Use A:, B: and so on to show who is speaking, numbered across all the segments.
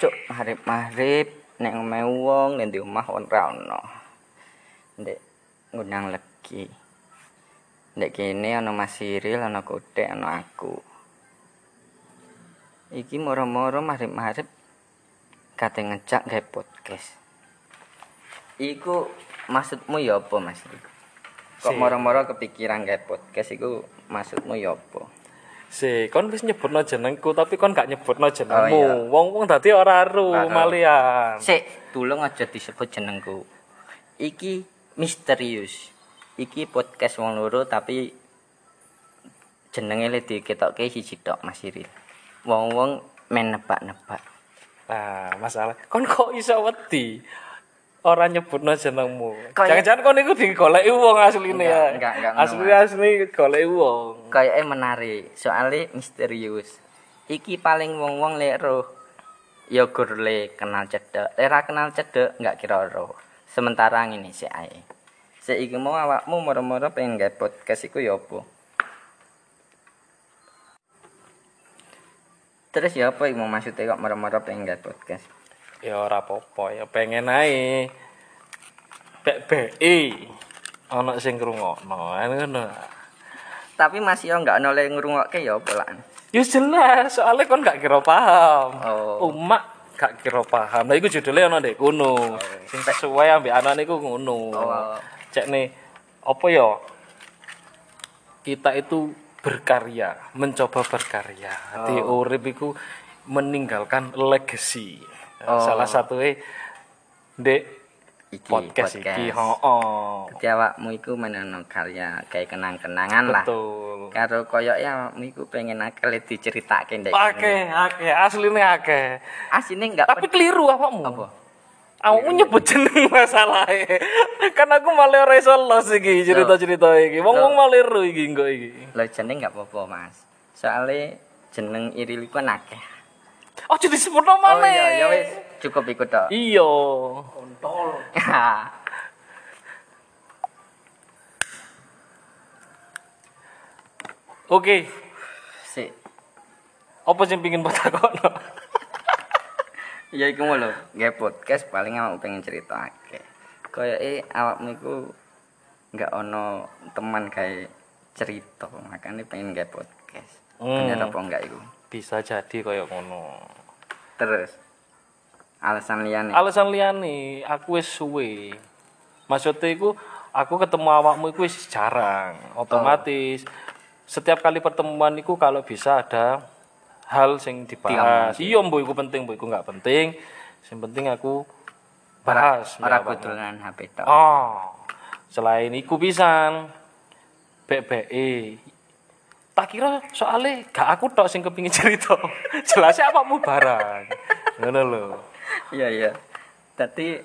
A: cuk magrib-magrib nek omahe wong nek di omah ora ono ndek ngundang legi ndek kene ana Mas Siril ana Kotek ana aku iki moro-moro magrib-magrib kate ngejak gawe podcast iku maksudmu ya apa Mas iku kok
B: Si.
A: moro-moro kepikiran gawe podcast iku maksudmu ya apa
B: Si, kon wis nyebutno jenengku tapi kon gak nyebutno jenengmu.
A: Oh, iya.
B: Wong-wong dadi ora aru
A: Ora aru.
B: malian.
A: Sik, tulung aja disebut jenengku. Iki misterius. Iki podcast wong loro tapi jenenge le diketokke siji tok Mas Iril. Wong-wong men nebak-nebak.
B: Nah, masalah kon kok iso wedi ora nyebutno jenengmu.
A: Kayak-
B: Jangan-jangan kon iku digoleki wong asline
A: Enggak,
B: ya.
A: enggak, enggak ngono,
B: Asline asli goleki wong.
A: Kayake menarik, soalnya misterius. Iki paling wong-wong lek roh ya gur le kenal cedek. Lek ra kenal cedek enggak kira roh. Sementara ngene sik ae. Sik iki mau awakmu moro-moro pengen gawe podcast iku ya apa? Terus ya apa iku maksudnya kok moro-moro pengen gawe podcast?
B: Ya ora apa-apa, ya pengen ae. BBI. Ono sing ngrungokno, ngono.
A: Tapi masih yo enggak noleh ngrungokke ya apa lan.
B: Ya jelas, soalnya kon gak kira paham.
A: Oh.
B: Umak gak kira paham. Lah iku judulnya ono ndek kono. Sing sesuai ambek anak niku ngono.
A: iya. Oh.
B: Cek nih, apa ya? Kita itu berkarya, mencoba berkarya. Di urip iku meninggalkan legacy.
A: Oh.
B: Salah satunya ndek
A: Iki
B: podcast, iki, heeh.
A: Jadi awakmu iku menono karya kayak kenang-kenangan lah.
B: Betul.
A: karo koyok ya miku pengen akal diceritake ndek
B: Oke, oke, asline oke.
A: asine enggak
B: Tapi keliru awakmu.
A: apa Iya.
B: Aku nyebut jeneng masalahnya Kan aku malah ora iso los iki
A: Iya.
B: cerita-cerita iki. Wong-wong malah ero iki engko iki.
A: lo jeneng enggak apa-apa Mas soalnya jeneng Iril iku kan akeh
B: Ojo
A: oh
B: disebutno maneh.
A: iya ya wis cukup iku tok
B: Iya. Oke,
A: sik
B: apa sing pengin mbok takokno?
A: ya iku mau lho nggak podcast paling awakmu pengen cerita akeh koyoke awakmu iku enggak ono teman kayak cerita makanya pengen nggak podcast
B: Hmm.
A: bener apa enggak iku
B: Bisa jadi koyo ngono.
A: terus alasan liyane
B: Alasan liyane aku wis suwe. Maksudnya iku aku ketemu awakmu iku wis jarang, otomatis. Setiap kali pertemuan iku kalau bisa ada hal sing dibahas. Iya, mbok iku penting, mbok iku enggak penting. Sing penting aku bahas. mbek
A: ora
B: awakmu.
A: kudulan HP tok
B: Oh. Selain iku pisan BBE. Tak kira soalnya gak aku tok sing kepingin cerita. Jelasnya awakmu barang. Ngono lho.
A: Iya iya. Tadi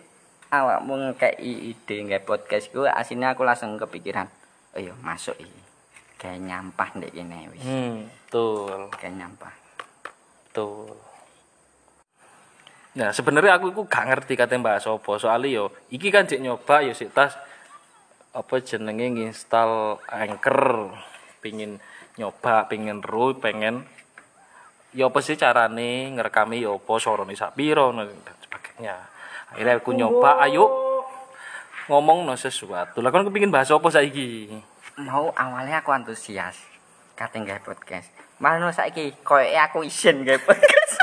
A: awakmu ngekei ide nggak podcast ku asine aku langsung kepikiran. Oh iya masuk iki. Kayak nyampah ndek kene wis.
B: Hmm, betul,
A: Kayak nyampah.
B: betul. Nah, sebenarnya aku iku gak ngerti kate bahas apa. Soalnya yo iki kan jek nyoba yo sik tas apa jenenge nginstal Anchor. Pengin nyoba, pengin ru, pengen yo apa sih carane ngerekami yo apa suarane sak piro dan sebagainya. Akhirnya aku nyoba, ayo ngomong no sesuatu. Lah kon kepengin bahas apa saiki?
A: Mau awalnya aku antusias kate nggak podcast. Malah no saiki koyoke aku isin nggak podcast.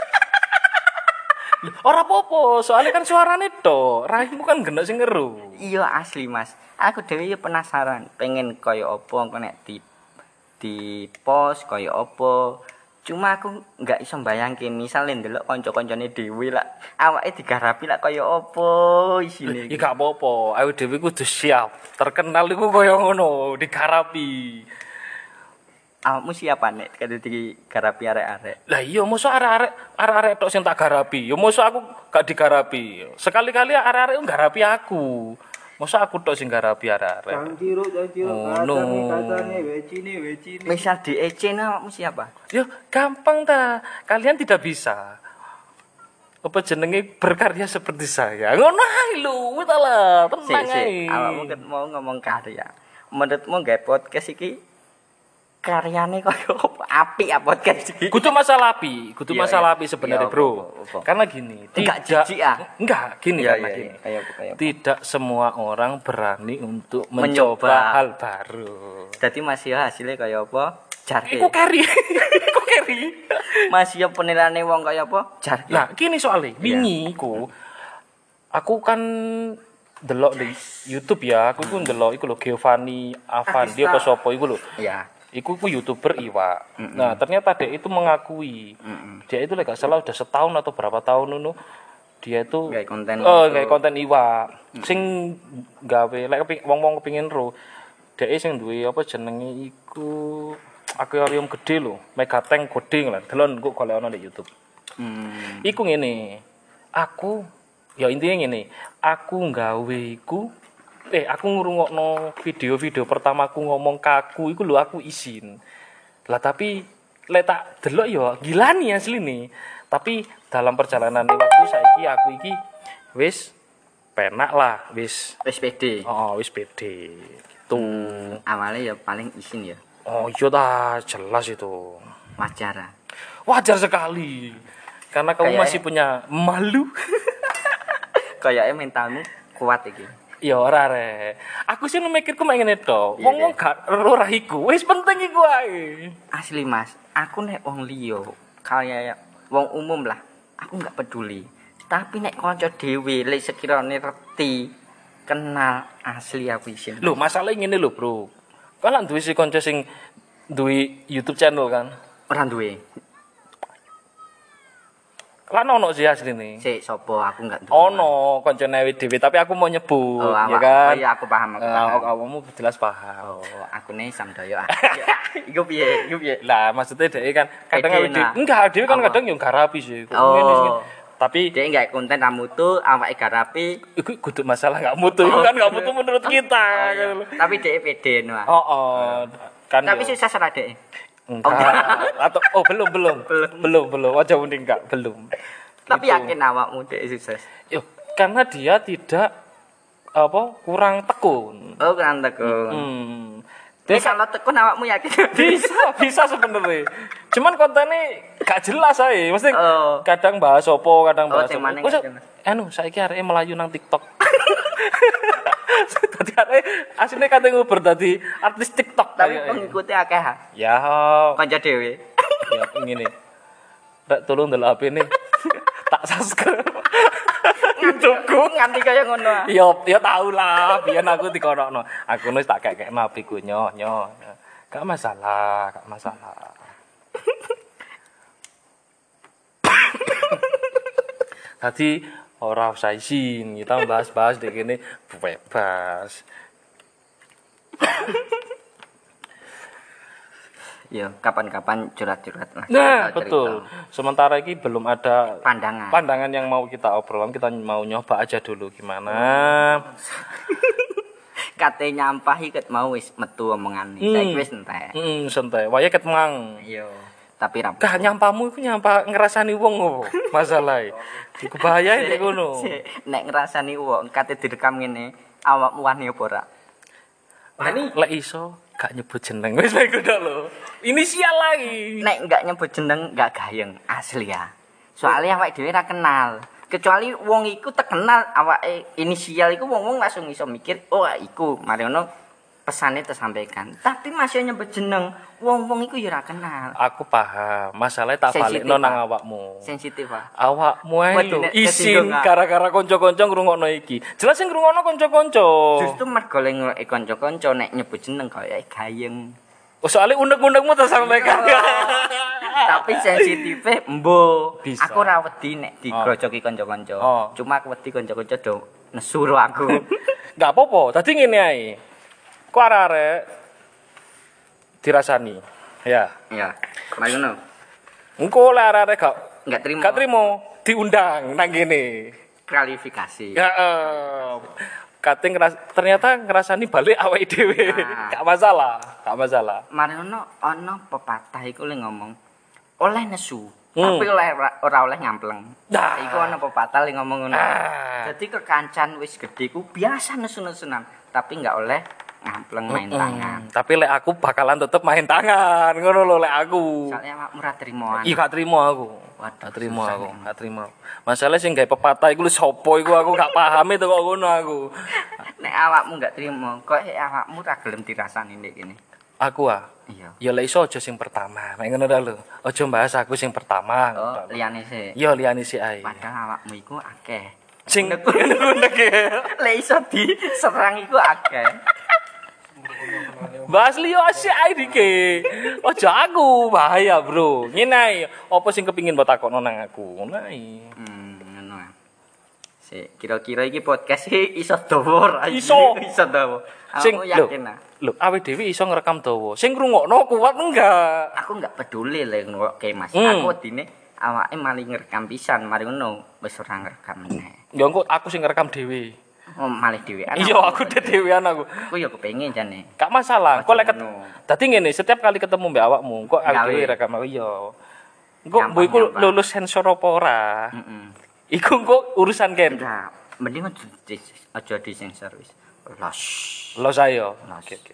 B: Ora apa-apa, soalnya kan suarane tok. Raimu kan gendak sing ngeru.
A: iya asli Mas. Aku dhewe ya penasaran pengen koyo apa engko nek di di pos koyo apa. Cuma aku nggak iso mbayangke misale ndelok kanca-kancane dhewe lah awake digarapi lah koyo apa isine.
B: Ya gak apa-apa, ayo dhewe kudu siap. Terkenal iku kaya ngono, digarapi.
A: Awakmu siapa nek kate digarapi arek-arek?
B: Lah iya mosok arek-arek arek-arek tok sing tak garapi. Ya mosok aku gak digarapi. Sekali-kali arek-arek nggarapi aku. Mosok aku tok sing garapi arek-arek.
C: Jangan ciruk, jangan ciruk.
B: Oh,
C: Kata
B: no.
C: nih, kata nih, weci nih, weci nih.
A: Misal di EC nih awakmu siapa?
B: Yo gampang ta. Kalian tidak bisa. Apa jenenge berkarya seperti saya. Ngono ae lho, wis ta lah,
A: Sik
B: tenang
A: sik,
B: ae.
A: awakmu ket mau ngomong karya. Menurutmu nggak podcast iki karyane koyo apa? apik apa podcast iki.
B: Kudu masalah api, kudu
A: Iya,
B: masalah
A: iya.
B: api sebenarnya,
A: Iya,
B: Bro.
A: apa, apa, apa.
B: Karena gini,
A: Enggak
B: tidak
A: jijik, ah.
B: Enggak, gini
A: Iya,
B: karena
A: iya,
B: gini.
A: iya. Ayo, apa, ayo, apa.
B: Tidak semua orang berani untuk mencoba,
A: Mencoba.
B: hal baru.
A: Dadi masih hasilnya kaya apa? Jarke.
B: Iku carry. Iku carry.
A: Iya. Masih penilaiane wong kaya apa? Jarke.
B: Nah, gini soalnya, wingi iku aku kan delok di YouTube ya, aku ku delok iku lho Giovanni Avandi apa sapa iku lho.
A: Ya.
B: Iku ku youtuber iwak. Nah ternyata dia itu mengakui,
A: Hmm.
B: dia itu lah gak salah udah setahun atau berapa tahun nu dia itu
A: Nggak konten Hmm.
B: eh,
A: untuk-
B: nggak konten iwak. Sing gawe, lek kepi- wong-wong kepingin ro, dia sing duwe apa jenenge iku akuarium gede lho, mega tank gede lah. Delon kok kalau ono di YouTube.
A: Hmm.
B: Iku ngene. Aku ya intinya ngene, aku nggawe iku eh aku ngrungokno video-video pertamaku ngomong kaku iku lho aku isin. Lah tapi lek tak delok ya gilani asli nih. Tapi dalam perjalanan waktu saiki aku iki wis penak lah, wis
A: Wis pede.
B: oh wis pede gitu.
A: Awalnya ya paling isin ya.
B: Oh iya ta, jelas itu.
A: Wajar. ah.
B: Wajar sekali. Karena
A: Kayaknya-
B: kamu masih punya malu.
A: Kayaknya mentalmu kuat iki.
B: Ya ora re. Aku sih mikirku mek ngene to.
A: Iya,
B: Wong wong gak ora iku. Wis penting iku ae.
A: Asli Mas, aku nek wong liya kaya wong umum lah, aku nggak peduli. Tapi nek kanca dhewe lek sekirane reti kenal asli aku isin.
B: Lho, masalah ngene lho, Bro. Kan lak duwe si kanca sing duwe YouTube channel kan.
A: Ora duwe.
B: Lan ono sih asline.
A: Sik sapa aku nggak duwe.
B: Ono kancane dhewe tapi aku mau nyebut,
A: Oh,
B: ya
A: awak-
B: kan?
A: oh, iya, aku paham, aku
B: Eh,
A: paham.
B: awak- awakmu jelas paham.
A: Oh, aku nih samdaya ah. Iku piye? Iku piye?
B: Lah, maksudnya dhek kan kadang
A: Pede,
B: awake dhewe
A: nah.
B: enggak, dhewe kan
A: Apa?
B: kadang yo gak rapi sih. Kok
A: Oh.
B: ngene sih. Tapi
A: Dek nggak konten ramu tuh awake gak rapi.
B: iku kudu masalah gak mutu,
A: Oh,
B: iku kan
A: iya.
B: gak mutu menurut kita. kan.
A: Tapi dek pede no. ah.
B: Oh, oh. Kan
A: Tapi
B: yo.
A: susah ora dek.
B: Enggak. Atau oh belum belum. belum belum. Aja mending enggak belum.
A: Tapi yakin awakmu dek sukses.
B: Yo, karena dia tidak apa kurang tekun.
A: Oh, kan tekun.
B: Hmm.
A: Dek
B: Dia
A: kalau tekun awakmu yakin.
B: bisa bisa sebenarnya. Cuman kontennya gak jelas ae. Mesti
A: Oh.
B: kadang bahas opo, kadang
A: Oh,
B: bahas
A: sing
B: opo.
A: mana
B: Wes,
A: gak jelas.
B: anu saiki areke melayu nang TikTok. Tadi areke asline kate nguber dadi artis TikTok
A: Tapi
B: kayaknya.
A: pengikutnya akeh ha.
B: Ya,
A: Kanca dhewe.
B: ya ngene. Rek tolong delok HP ne. tak subscribe. YouTubeku.
A: Nganti kaya ngono. ah.
B: Ya ya tau lah, biyen aku dikonokno. Aku nulis tak kekekno HP-ku nyoh nyoh. Gak masalah, gak masalah. Tadi ora usah izin, kita bahas-bahas di kene bebas.
A: Ya, kapan-kapan curhat-curhat lah.
B: Nah,
A: Cerita-cerita.
B: betul. Sementara ini belum ada
A: Pandangan.
B: pandangan yang mau kita obrolan, kita mau nyoba aja dulu gimana.
A: Kate nyampah iket mau wis metu omongane.
B: Hmm.
A: Saiki wis entek.
B: Hmm, santai. Waya ket mang.
A: Iya. Tapi ra
B: Kah nyampamu iku nyampa ngerasani wong opo? Masalahe. Iku bahaya iki ngono.
A: Sik, Nek ngrasani wong kate direkam ngene, awakmu wani apa ora?
B: Lek iso gak nyebut jeneng wis bae kudu lho. Inisial lagi.
A: Nek enggak nyebut jeneng enggak gayeng, asli ya. Soalnya awake dhewe ra kenal. Kecuali wong iku terkenal awake inisial iku wong-wong langsung iso mikir, oh iku mari ngono pesane tersampaikan. Tapi masih nyebut jeneng, wong-wong iku ya ra kenal.
B: Aku paham. Masalahnya tak
A: Sensitif,
B: balekno
A: Pak.
B: nang awakmu.
A: Sensitif ah.
B: Awakmu ae
A: Waduh,
B: lho
A: nek
B: isin
A: kesinggung, Kak.
B: gara-gara kanca-kanca ngrungokno iki. Jelas sing ngrungokno kanca-kanca.
A: Justru mergo lek ngeloki kanca-kanca nek nyebut jeneng kaya gayeng.
B: Oh, soalnya undeg-undegmu tersampaikan.
A: Tapi sensitifnya embo.
B: Bisa.
A: Aku ra wedi nek digrojoki kanca-kanca.
B: Oh.
A: Cuma aku wedi kanca-kanca do nesuru aku.
B: Gak apa-apa. Tadi ngene ae. Ku arek dirasani. Ya.
A: ya, mari ngono.
B: Engko lek arek gak
A: Enggak terima.
B: gak trimo diundang nang kene.
A: Klarifikasi.
B: Ya eh kate ngeras, ternyata ngerasani balik awake dhewe.
A: Ah.
B: Gak masalah, gak masalah.
A: Mari ngono ana pepatah iku le ngomong oleh nesu,
B: Hmm.
A: tapi oleh ra- ora oleh nyampleng.
B: Nah.
A: Iku ana pepatah le ngomong ngono.
B: Ah.
A: Dadi kekancan wis gedhe ku biasa nesu-nesunan, tapi enggak oleh ngampleng main
B: Hmm.
A: tangan.
B: Tapi lek aku bakalan tetep main tangan, ngono lho lek aku.
A: Soalnya awak murah terimoan.
B: Iya gak trimo aku.
A: Waduh,
B: Gak trimo aku, gak trimo. Masalah sing gawe pepatah iku lho sapa iku aku gak paham itu kok ngono aku.
A: Nek awakmu gak terima, kok eh, awakmu ra gelem dirasani nek kene.
B: Aku ah.
A: Iya.
B: Ya lek iso aja sing pertama, nek ngono ta lho. Aja bahas aku sing pertama.
A: Oh, liyane sih.
B: Yo liyane sik ae.
A: Padahal awakmu iku akeh.
B: Sing unek-unek ya.
A: Lek iso diserang iku akeh.
B: Bahas liyo asik ae dike. Ojo aku bahaya, Bro. Ngene ae, apa sing kepingin mbok takokno nang aku? Ngono ae.
A: Hmm, ngono. ah. Sik, kira-kira iki podcast iki iso dawa ra?
B: Iso.
A: iso dawa.
B: sing
A: Aku
B: lho
A: yakin ah.
B: lho awe dhewe iso ngerekam dawa sing ngrungokno kuat enggak
A: Aku nggak peduli lek ngokke Mas.
B: Hmm.
A: Aku dine awake mali ngerekam pisan, mari ngono wis ora ngerekam meneh.
B: ya engko aku sing ngerekam dhewe
A: Oh, malih dhewean.
B: iya aku dhewe dhewean aku
A: Aku ya kepengin jane.
B: gak masalah engko lek ket-
A: ngono.
B: dadi ngene setiap kali ketemu mbek awakmu engko aku
A: Gawe.
B: dhewe rekam aku iya engko
A: Nyampang,
B: mbok iku
A: nyampang.
B: lulus sensor apa ora
A: Heeh.
B: iku engko urusan ken
A: Enggak, mending aja di- aja disensor wis. Los.
B: lo saya
A: Mas.
B: oke oke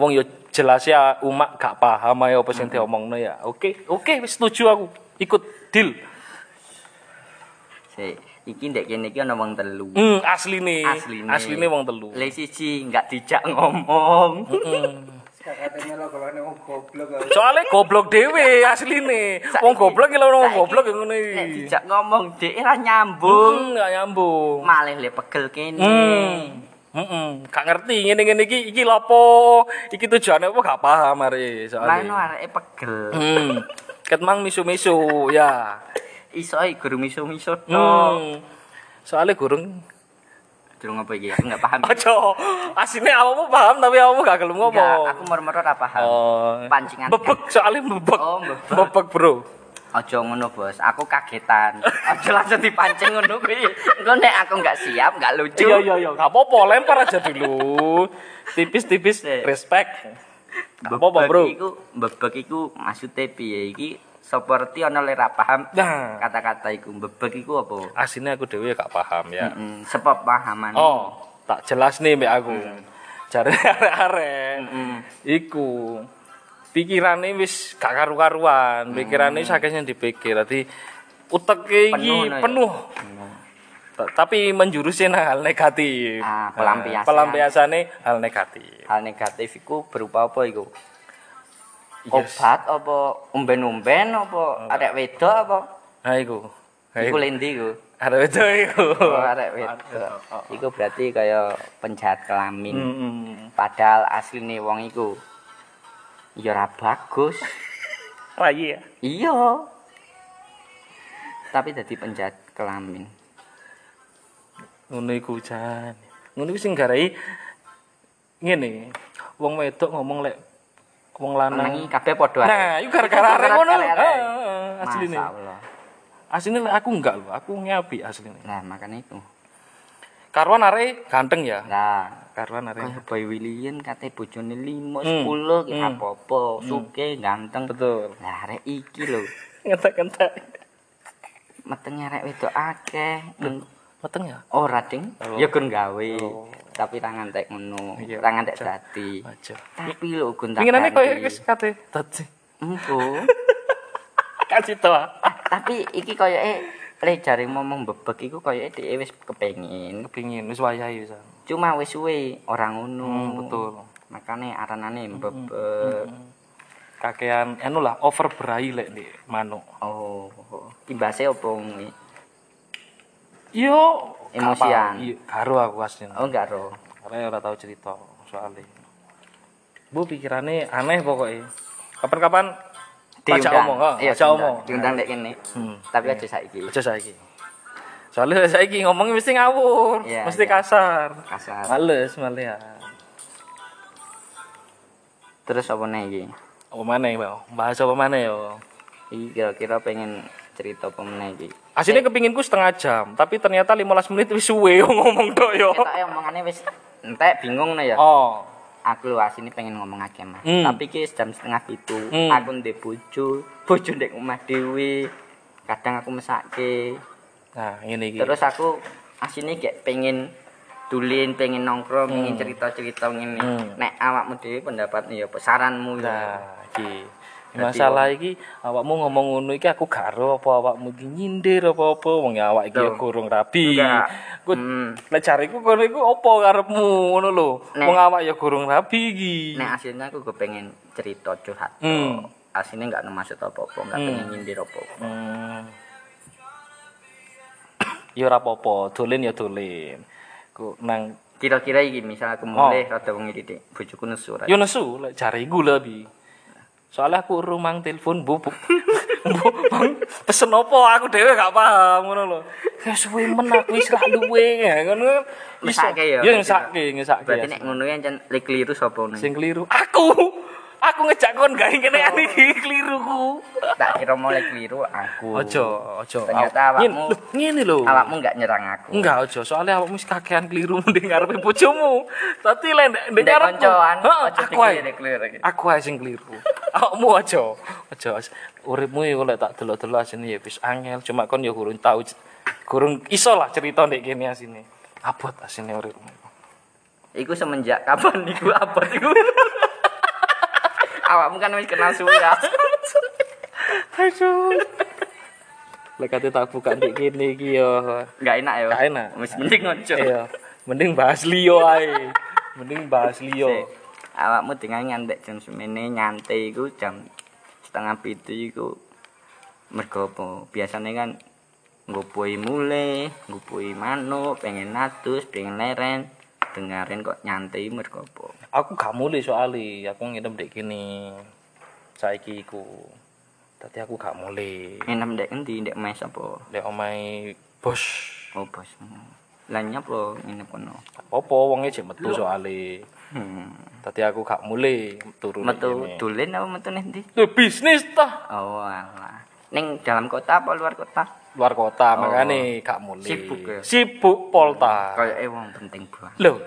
B: wong yo jelas ya umak gak paham ae apa
A: Mm-hmm.
B: sing diomongno ya oke oke wis setuju aku ikut deal
A: Sik, iki ndek kene iki ana wong telu.
B: hmm asli nih
A: Asline.
B: asli nih wong telu
A: Le siji nggak dijak ngomong.
C: Kakaknya lo kalau nemu goblok aku.
B: Soalnya goblok dewe asline.
A: Saiki-
B: Wong goblok iki lho wong
A: saiki
B: goblok yang ngono
A: Nek
B: iki.
A: dijak ngomong dhek ra nyambung.
B: Hmm, gak nyambung.
A: Malah le pegel kene.
B: Hmm. Heeh, gak ngerti ngene-ngene iki iki lapo? Iki tujuane apa gak paham are
A: Lah no
B: soalnya.
A: areke pegel.
B: Hmm. Ketmang misu-misu ya.
A: Iso ae guru miso-miso tok.
B: Hmm. Soalnya gurung
A: Durung apa iki? Aku nggak paham.
B: ojo. Asine awakmu paham tapi awakmu gak gelem
A: Nggak,
B: ngomong.
A: aku mermer ora paham.
B: Oh.
A: Pancingan.
B: Bebek soalnya bebek.
A: Oh, bebek.
B: Bebek, Bro.
A: Aja ngono, Bos. Aku kagetan. Aja langsung dipancing ngono kuwi. Engko nek aku nggak siap, nggak lucu.
B: Iya iya iya, gak apa-apa, lempar aja dulu. Tipis-tipis
A: Sik.
B: respect. Gak apa-apa, Bro.
A: Iku bebek iku maksude piye iki? Seperti ana le ra paham
B: Nah.
A: kata-kata iku bebek iku apa?
B: Aslinya aku dewe gak paham ya.
A: Heeh, sepemahaman.
B: Oh, tak jelas nih mbak aku. Jare arek-arek.
A: Hmm,
B: Iku pikirane wis gak
A: Hmm.
B: karu-karuan, pikirane saking sing dipikir. Dadi uteke
A: Penuh,
B: iki
A: no, ya?
B: penuh. Ta- Tapi menjurusin hal negatif.
A: Ah,
B: Nah,
A: pelampiasan.
B: Pelampiasane hal negatif.
A: Hal negatif iku berupa apa iku?
B: Yes.
A: Obat apa umben-umben apa arek wedok apa?
B: Nah, iku. Nah,
A: Iku
B: iku.
A: lendi iku.
B: Arek wedok iku.
A: Oh, arek wedok.
B: Oh,
A: Iku berarti kaya penjahat
B: Hmm,
A: kelamin.
B: Mm-mm.
A: Padahal asline wong iku ya ora bagus.
B: Lagi ya.
A: Iya. Tapi dadi penjahat kelamin.
B: ngono iku jan ngono iku sing garai ngene wong wedok ngomong lek wong
A: Menangi
B: lanang
A: kabeh padha ae.
B: nah iku gara-gara arek ngono
A: Gara-gara arek.
B: asline
A: Masya Allah.
B: asline lek aku enggak lho aku nyapi asline
A: Nah, makanya itu.
B: karuan arek ganteng ya
A: Nah,
B: karuan arek
A: kaya Boy William katanya bojone 5
B: Hmm.
A: 10 ki
B: Hmm.
A: apa-apa, suke ganteng.
B: betul
A: Lah arek iki lho,
B: ngentek-ngentek
A: metenge arek wedok akeh.
B: meteng ya
A: Ora ding,
B: Oh.
A: ya gun gawe. Tapi ra ngantek ngono,
B: Iya,
A: ra ngantek
B: aja.
A: dadi.
B: aja
A: Tapi lho gun tak.
B: pinginane koyo
A: ganti.
B: wis kate dadi ah.
A: Engko. Ah,
B: kasih to
A: Tapi iki koyoke le jare ngomong bebek iku koyoke dhek wis kepengin.
B: kepingin wis wayahe wis
A: Cuma wis suwe ora ngono.
B: Hmm, betul Hmm,
A: Makane aranane bebek.
B: kakean anu lah overberai lek di manuk
A: Oh. Imbase opo kuwi?
B: Yo,
A: Emosian.
B: Iya, karo aku asli.
A: Oh enggak ro.
B: Karena ora tau cerita soalnya. Bu pikirane aneh pokoknya. Kapan-kapan aja omong, oh,
A: Iya,
B: aja
A: diundang.
B: omong.
A: Diundang lek kene.
B: Hmm.
A: Tapi aja saiki.
B: Aja saiki. Soalnya saiki ngomongnya mesti ngawur,
A: Iya, iya.
B: mesti kasar.
A: Kasar.
B: Males malah.
A: Terus opo neh iki?
B: Apa mana ya, Bang? Bahas apa mana ya?
A: Iki kira-kira pengen cerita opo meneh iki.
B: Aslinya kepinginku setengah jam, tapi ternyata 15 menit wis suwe yo ngomong tok yo.
A: Ketoke omongane wis entek bingung nih ya.
B: Oh,
A: aku lu asini pengen ngomong akeh mas
B: Hmm.
A: tapi ki jam setengah itu
B: Hmm.
A: aku ndek bojo bojo ndek omah dhewe kadang aku mesake
B: nah ini iki.
A: terus aku asini kayak pengen dulin pengen nongkrong
B: Hmm.
A: pengen cerita-cerita ngene nek awakmu dhewe pendapatmu ya apa saranmu ya
B: Nah, iki masalah iki awakmu ngomong ngono iki aku gak ero apa awakmu iki nyindir apa-apa wong ya awak iki ya
A: Loh.
B: kurung rapi.
A: Enggak.
B: Ku
A: Hmm.
B: nek jariku kono iku apa karepmu ngono lho.
A: Nek-
B: Wong awak ya kurung rapi iki.
A: nek aslinya aku gue pengen cerita curhat
B: Hmm.
A: aslinya nggak ngemaksud apa-apa nggak pengen nyindir apa-apa
B: Hmm. Ya ora apa-apa, dolen ya dolen. Ku nang
A: kira-kira iki misal aku mulai rada wengi titik bojoku nesu ra
B: Oh. yo nesu lek jariku lebih. Soalnya aku rumang telepon bubuk. Mbok bang pesen apa aku dhewe gak paham ngono lho. Ya suwe men aku wis ra luwe ya ngono.
A: Ngesake ya?
B: Ya ngesake, ngesake.
A: berarti
B: ya.
A: nek ngono ya jan lek keliru sapa nih
B: Sing keliru aku. Aku ngejak kon gawe ngene
A: Oh.
B: iki keliruku.
A: tak kira mulai keliru aku
B: Ojo,
A: Oh.
B: ojo.
A: Ternyata
B: Aw-
A: awakmu-
B: Ngene- ngene lho.
A: awakmu nggak nyerang aku
B: Enggak ojo, soalnya awakmu wis kakean keliru mending ngarepe bojomu. Tapi lek ndek- ndek
A: Ndek
B: ngarepku.
A: koncoan,
B: Heeh,
A: ojo
B: aku ae.
A: dikeliru-keliru iki.
B: Aku ae sing keliru. Awakmu ojo. Ojo. Uripmu yo lek tak delok-delok asine ya wis angel, cuma kon yo kurang tau kurang iso lah cerita ndek kene asine. Abot asine uripmu.
A: Iku semenjak kapan iku apa iku? Awakmu kan wis kenal suwe ya.
B: Aduh. Lek kate tak buka ndek kene iki yo.
A: Enggak enak ya.
B: Gak enak.
A: Wis mending ngojo.
B: Iya, mending bahas liyo ae. Mending bahas liyo.
A: Awakmu dengan ngantek jam semene nyantai iku jam setengah pitu iku mergo apa? Biasane kan ngupui mule, ngupui manuk, pengen natus, pengen leren, dengarin kok nyantai mergo apa?
B: aku gak mulai soalnya aku nginep dek kini saiki iku tadi aku gak mulai
A: Nginep ndek endi ndek mes apa?
B: dek omai bos
A: Oh bos. Lah nyapa nginep kono?
B: opo wongnya jek metu soalnya
A: Hmm.
B: tadi aku gak mulai turu dek
A: Metu
B: kene.
A: tulen apa metu ndi?
B: Loh, bisnis tah
A: Oh alah. Ning dalam kota apa luar kota?
B: luar kota
A: Oh.
B: makanya gak mulai
A: Sibuk ya?
B: sibuk polta
A: Kayake wong penting banget.
B: Loh,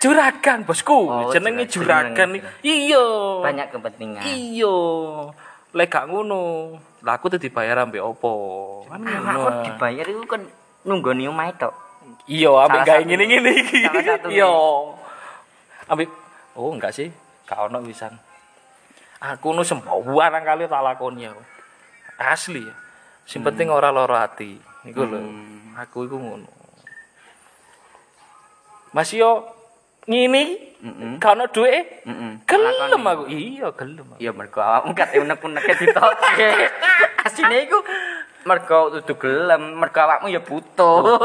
B: juragan bosku
A: Oh,
B: jenenge
A: juragan.
B: juragan iya
A: Banyak kepentingan.
B: iya lek gak ngono lah aku tuh dibayar ambek opo kan
A: Awak
B: ngono
A: kok
B: ah.
A: dibayar iku kan nunggoni omahe tok.
B: Iya,
A: Salah
B: ambek gawe
A: satu-
B: ngene-ngene iki.
A: salah satu
B: Iya. Ambek Oh, enggak sih. Gak ono wisan. Aku nu sembawa nang kali tak lakoni aku. Asli ya. Sing penting ora lara ati. Iku lho. Aku iku ngono. Mas yo ngene
A: Mm-mm.
B: gak ono duwe.
A: Heeh.
B: Gelem aku. Iya, gelem. aku.
A: Ya mergo awakmu kate unek-uneke ditoke. Asine iku mergo dudu gelem, mergo awakmu ya butuh.
B: Oh.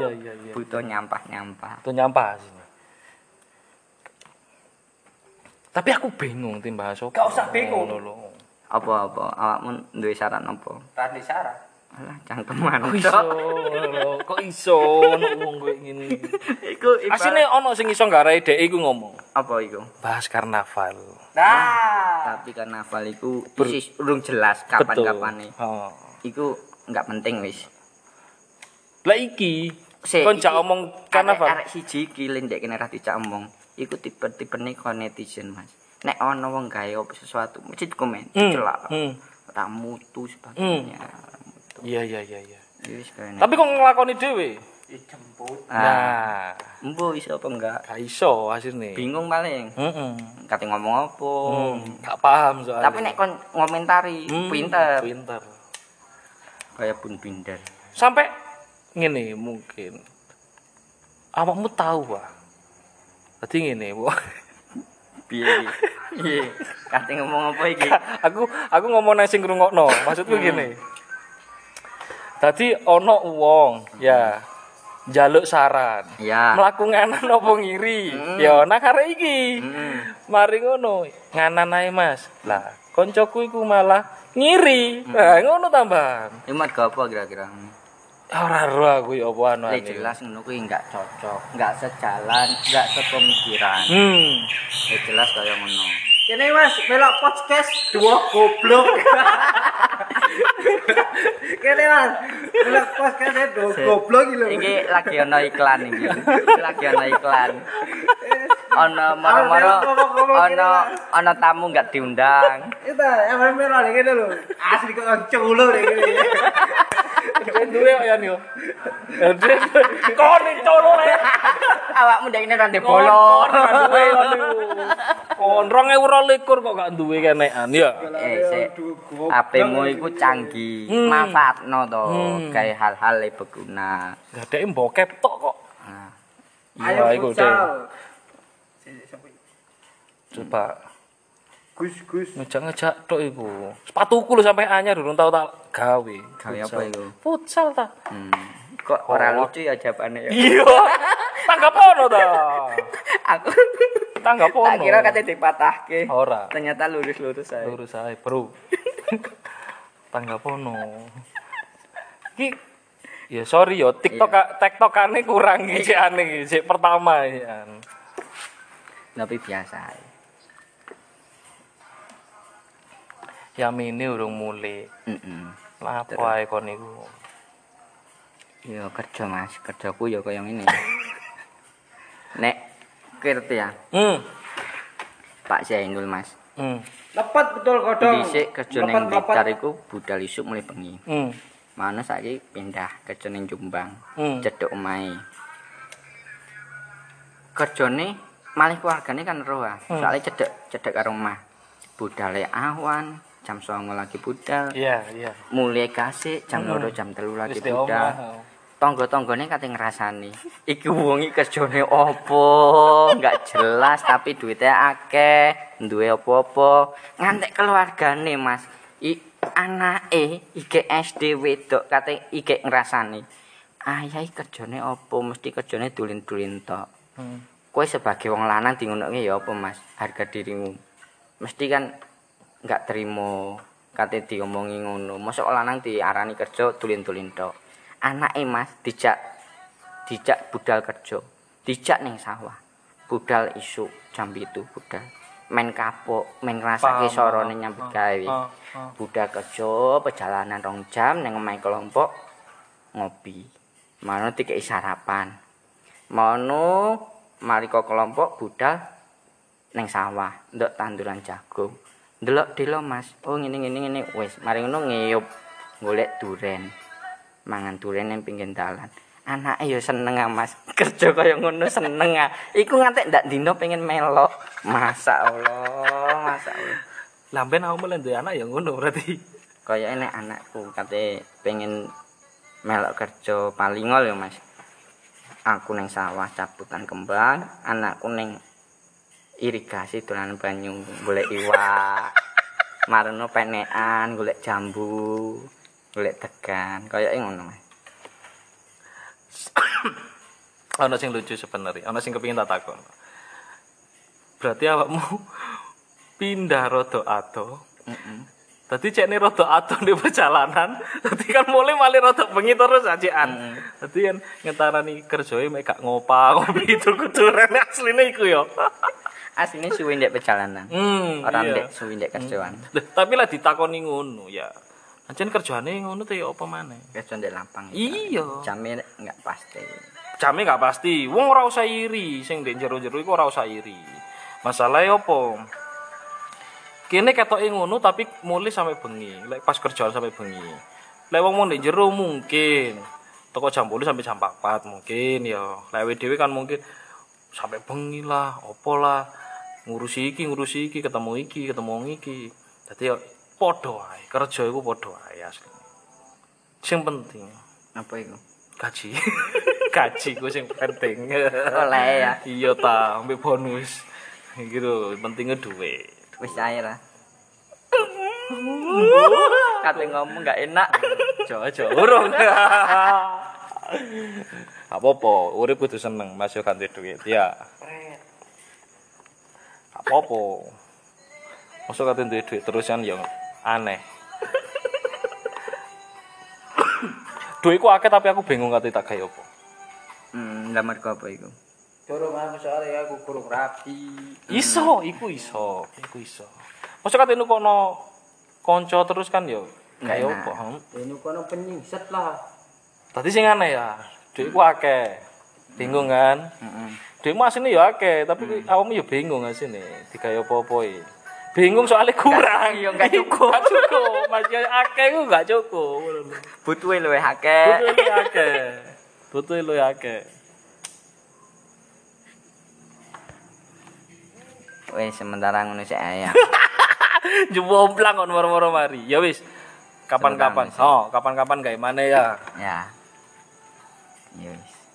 B: Iya, iya, iya.
A: butuh nyampah-nyampah.
B: Itu nyampah sini. Tapi aku bingung tim bahas apa.
C: Gak usah bingung.
B: Ngono lho.
A: Apa-apa awakmu duwe saran apa?
C: Tadi syarat.
A: Alah cangkeman
B: Kok Oh, iso
A: tok.
B: lho, kok iso ono wong koyo ngene.
A: Iku ibarat-
B: Asine ono sing iso nggarai dhek iku ngomong.
A: apa iku?
B: Bahas karnaval.
C: Nah,
A: Tapi karnaval iku isi urung jelas kapan-kapane.
B: Heeh.
A: Iku nggak penting wis.
B: Lah iki
A: Sik,
B: kon jak
A: iki
B: omong karnaval.
A: Arek arek siji iki lendek kene ra dicak omong. Iku tipe-tipene kon netizen, Mas. Nek ana wong gawe op- sesuatu mesti dikomen,
B: Hmm,
A: dicelak.
B: hmm.
A: Ra mutu sebagainya.
B: Iya iya iya iya.
A: Ya Wis kene.
B: Tapi kok nglakoni dhewe?
C: dijemput.
A: nah,
B: Nah,
A: embo iso Ah, apa enggak?
B: gak iso asine.
A: Bingung paling.
B: Heeh.
A: Kate ngomong apa.
B: Oh, Gak paham soalnya.
A: Hmm. Tapi nek kon ngomentari
B: Hmm,
A: pinter,
B: Pinter.
A: kaya pun pinter.
B: Sampai ngene mungkin. Awakmu tahu, Pak. Tadi ngene, Bu.
A: Piye iki? Piye? Kate ngomong apa iki?
B: aku aku ngomong nang sing ngrungokno.
A: Hmm.
B: Maksudku gini. Tadi ono wong ya njaluk saran.
A: Ya.
B: Mlaku nganan apa ngiri?
A: Hmm.
B: Ya nak arek iki.
A: Hmm.
B: Mari ngono, nganan ae Mas. Lah, koncoku iku malah ngiri.
A: Hmm.
B: Nah, ngono tambahan.
A: Imat gak apa kira-kira?
B: Ora ero aku ya apa anu.
A: Lek jelas ngono kuwi enggak cocok, enggak sejalan, enggak sepemikiran.
B: Hmm.
A: Ya jelas kaya ngono.
C: Kene Mas, melok podcast dua goblok. Kene Mas, melok podcast dua goblok iki lho.
A: Iki lagi ana iklan iki. Iki Lagi ana iklan. Ana moro-moro ana ana tamu enggak diundang.
C: Itu, emang melok iki lho. Asli kok culo iki.
A: Eh,
B: Duwe kok ya yo. Kon iki tolol ae.
A: awakmu ndek ngene ra ndek bolong.
B: Kon 2022 kok gak duwe kenekan ya.
A: Eh, sik. HP-mu iku canggih, manfaatno to, gawe hal-hal yang berguna.
B: Gak ada bokep tok kok.
A: Nah,
B: Iya,
C: Ayo
B: iku, Dek.
C: futsal. Sik, sik, sampai.
B: Coba
C: Gus Gus.
B: ngejak-ngejak tok iku. Sepatuku lho sampai anyar durung tau tak gawe.
A: Gawe apa
B: Futsal.
A: iku?
B: Futsal ta.
A: hmm. Kok ora
C: Oh.
A: lucu ya jawabane ya.
B: Iya. Tanggap ono ta.
A: Aku Oh.
B: Tanggap ono.
A: tak kira kate dipatahke.
B: Ora.
A: Ternyata lurus-lurus ae.
B: Lurus ae, Bro. Tanggap ono. Ki Ya sorry yo, TikTok TikTokane kurang iki ane iki sik pertama iki an.
A: Tapi biasa ae.
B: Yamine urung mulai.
A: Heeh.
B: Lapo ae kon iku.
A: Yo kerja Mas, kerjaku ya kaya ngene. Nek ngerti ya,
B: Hmm.
A: Pak Zainul Mas.
B: Hmm.
C: Lepat betul godong.
A: Dhisik kerja
C: Lepat,
A: ning
C: lepat.
A: Blitar iku budal isuk mulai bengi.
B: Hmm.
A: Mana saiki pindah kerja ning Jombang.
B: Hmm.
A: Cedhok omahe. Kerjane malih keluargane kan roh. ah.
B: Mm.
A: Soale cedhek cedhek karo omah. Budale awan, jam 09.00 lagi budal.
B: Iya, iya.
A: Mulai kasih jam loro jam telu lagi
B: Wis di omah. ah.
A: budal. Tonggo-tonggone kate ngrasani, iki wong iki kerjane apa? Enggak jelas tapi duitnya akeh, duwe apa-apa. Ngantek keluargane, Mas. I anake iki SD wedok kate iki ngrasani. Ayah iki kerjane apa? Mesti kerjane dulin-dulin tok.
B: Hmm.
A: Kowe sebagai wong lanang di ngono ki ya apa, Mas? Harga dirimu. Mesti kan enggak terima kate diomongi ngono. Mosok lanang diarani kerja dulin-dulin tok. Anake Mas dijak dijak budal kerja. Dijak ning sawah. Budal isuk jam 7 budal. Men kapok, men ngrasake
B: Paham,
A: sorone
B: paham,
A: nyambut
B: paham,
A: gawe.
B: paham, paham.
A: Budal kerja perjalanan rong jam ning omahe kelompok ngopi. Mano dikei sarapan. Mono mariko kelompok budal neng sawah ndok tanduran jagung ndelok dilo mas oh ngene ngene ngene wis mari ngono ngeyup golek duren mangan duren neng pinggir dalan anake yo seneng ah mas kerja kaya ngono seneng ah iku ngantek ndak dino pengen melok masa Allah masa Allah
B: Lamben aku mulai duwe anak ya ngono berarti.
A: kaya enek anakku kate pengen melok kerja palingol ya mas aku neng sawah cabutan kembang anakku neng irigasi dolanan banyu golek iwak marno penekan golek jambu golek tegan kaya e ngono mas
B: Ono sing lucu sebenarnya, ono sing kepengin tak takon. Berarti awakmu pindah rodo ato. Tadi cek ini rodo ato di perjalanan. Tadi kan mulai malih rodo bengi terus ajaan. Tadi kan ngetarani kerjoe mek gak ngopa ngopi itu kuduran asline iku yo.
A: aslinya suwi ndek perjalanan
B: Hmm.
A: orang
B: iya.
A: ndek suwi ndek kerjaan
B: Lah, tapi lah ditakoni ngono ya. Anjen kerjane ngono te ya apa maneh?
A: kerja ndek lapang
B: Mm. Iya.
A: jamnya nggak pasti
B: jame gak pasti wong ora usah iri sing ndek jero-jero iku ora usah iri masalahe opo kene ketoke ngono tapi mulai sampai bengi lek pas kerjaan sampai bengi lek wong mung ndek jero mungkin toko jam 10 sampai jam 4 mungkin ya lewe dhewe kan mungkin sampai bengi lah opo lah ngurusi iki ngurusi iki ketemu iki ketemu iki dadi ya padha ae kerja iku padha ae asli sing penting
A: apa itu
B: gaji gaji gue sing penting
A: oleh ya
B: iya ta ambil bonus gitu pentingnya duit
A: wis air lah kate ngomong nggak enak
B: jawa jawa urung apa apa urip kudu seneng masih ganti duit ya apa apa masuk ganti duit duit terusan yang aneh duitku akeh tapi aku bingung kate tak gawe apa
A: hmm lah mergo apa iku
C: Dorong aku soalnya aku kurung rapi.
B: iso iku iso iku iso masa kate nukono kanca terus kan yo
A: Nggak
B: kayak
A: enak.
B: apa hmm?
C: Ini kono penyingset lah.
B: tadi sing aneh ya duitku akeh bingung kan
A: heeh
B: duitmu asine yo akeh tapi awakmu yo bingung asine digawe apa-apa iki bingung soalnya kurang
A: Nggak- iya, nggak cukup.
B: Nggak cukup masih akeh ku gak cukup
A: butuhe luwih akeh
B: butuh lu akeh butuh lu akeh
A: wis sementara ngono sik ae.
B: Jumplang kon moro-moro mari. Ya wis. Kapan-kapan.
A: Sebentar,
B: Oh, kapan-kapan gawe mana ya.
A: ya. Ya wis.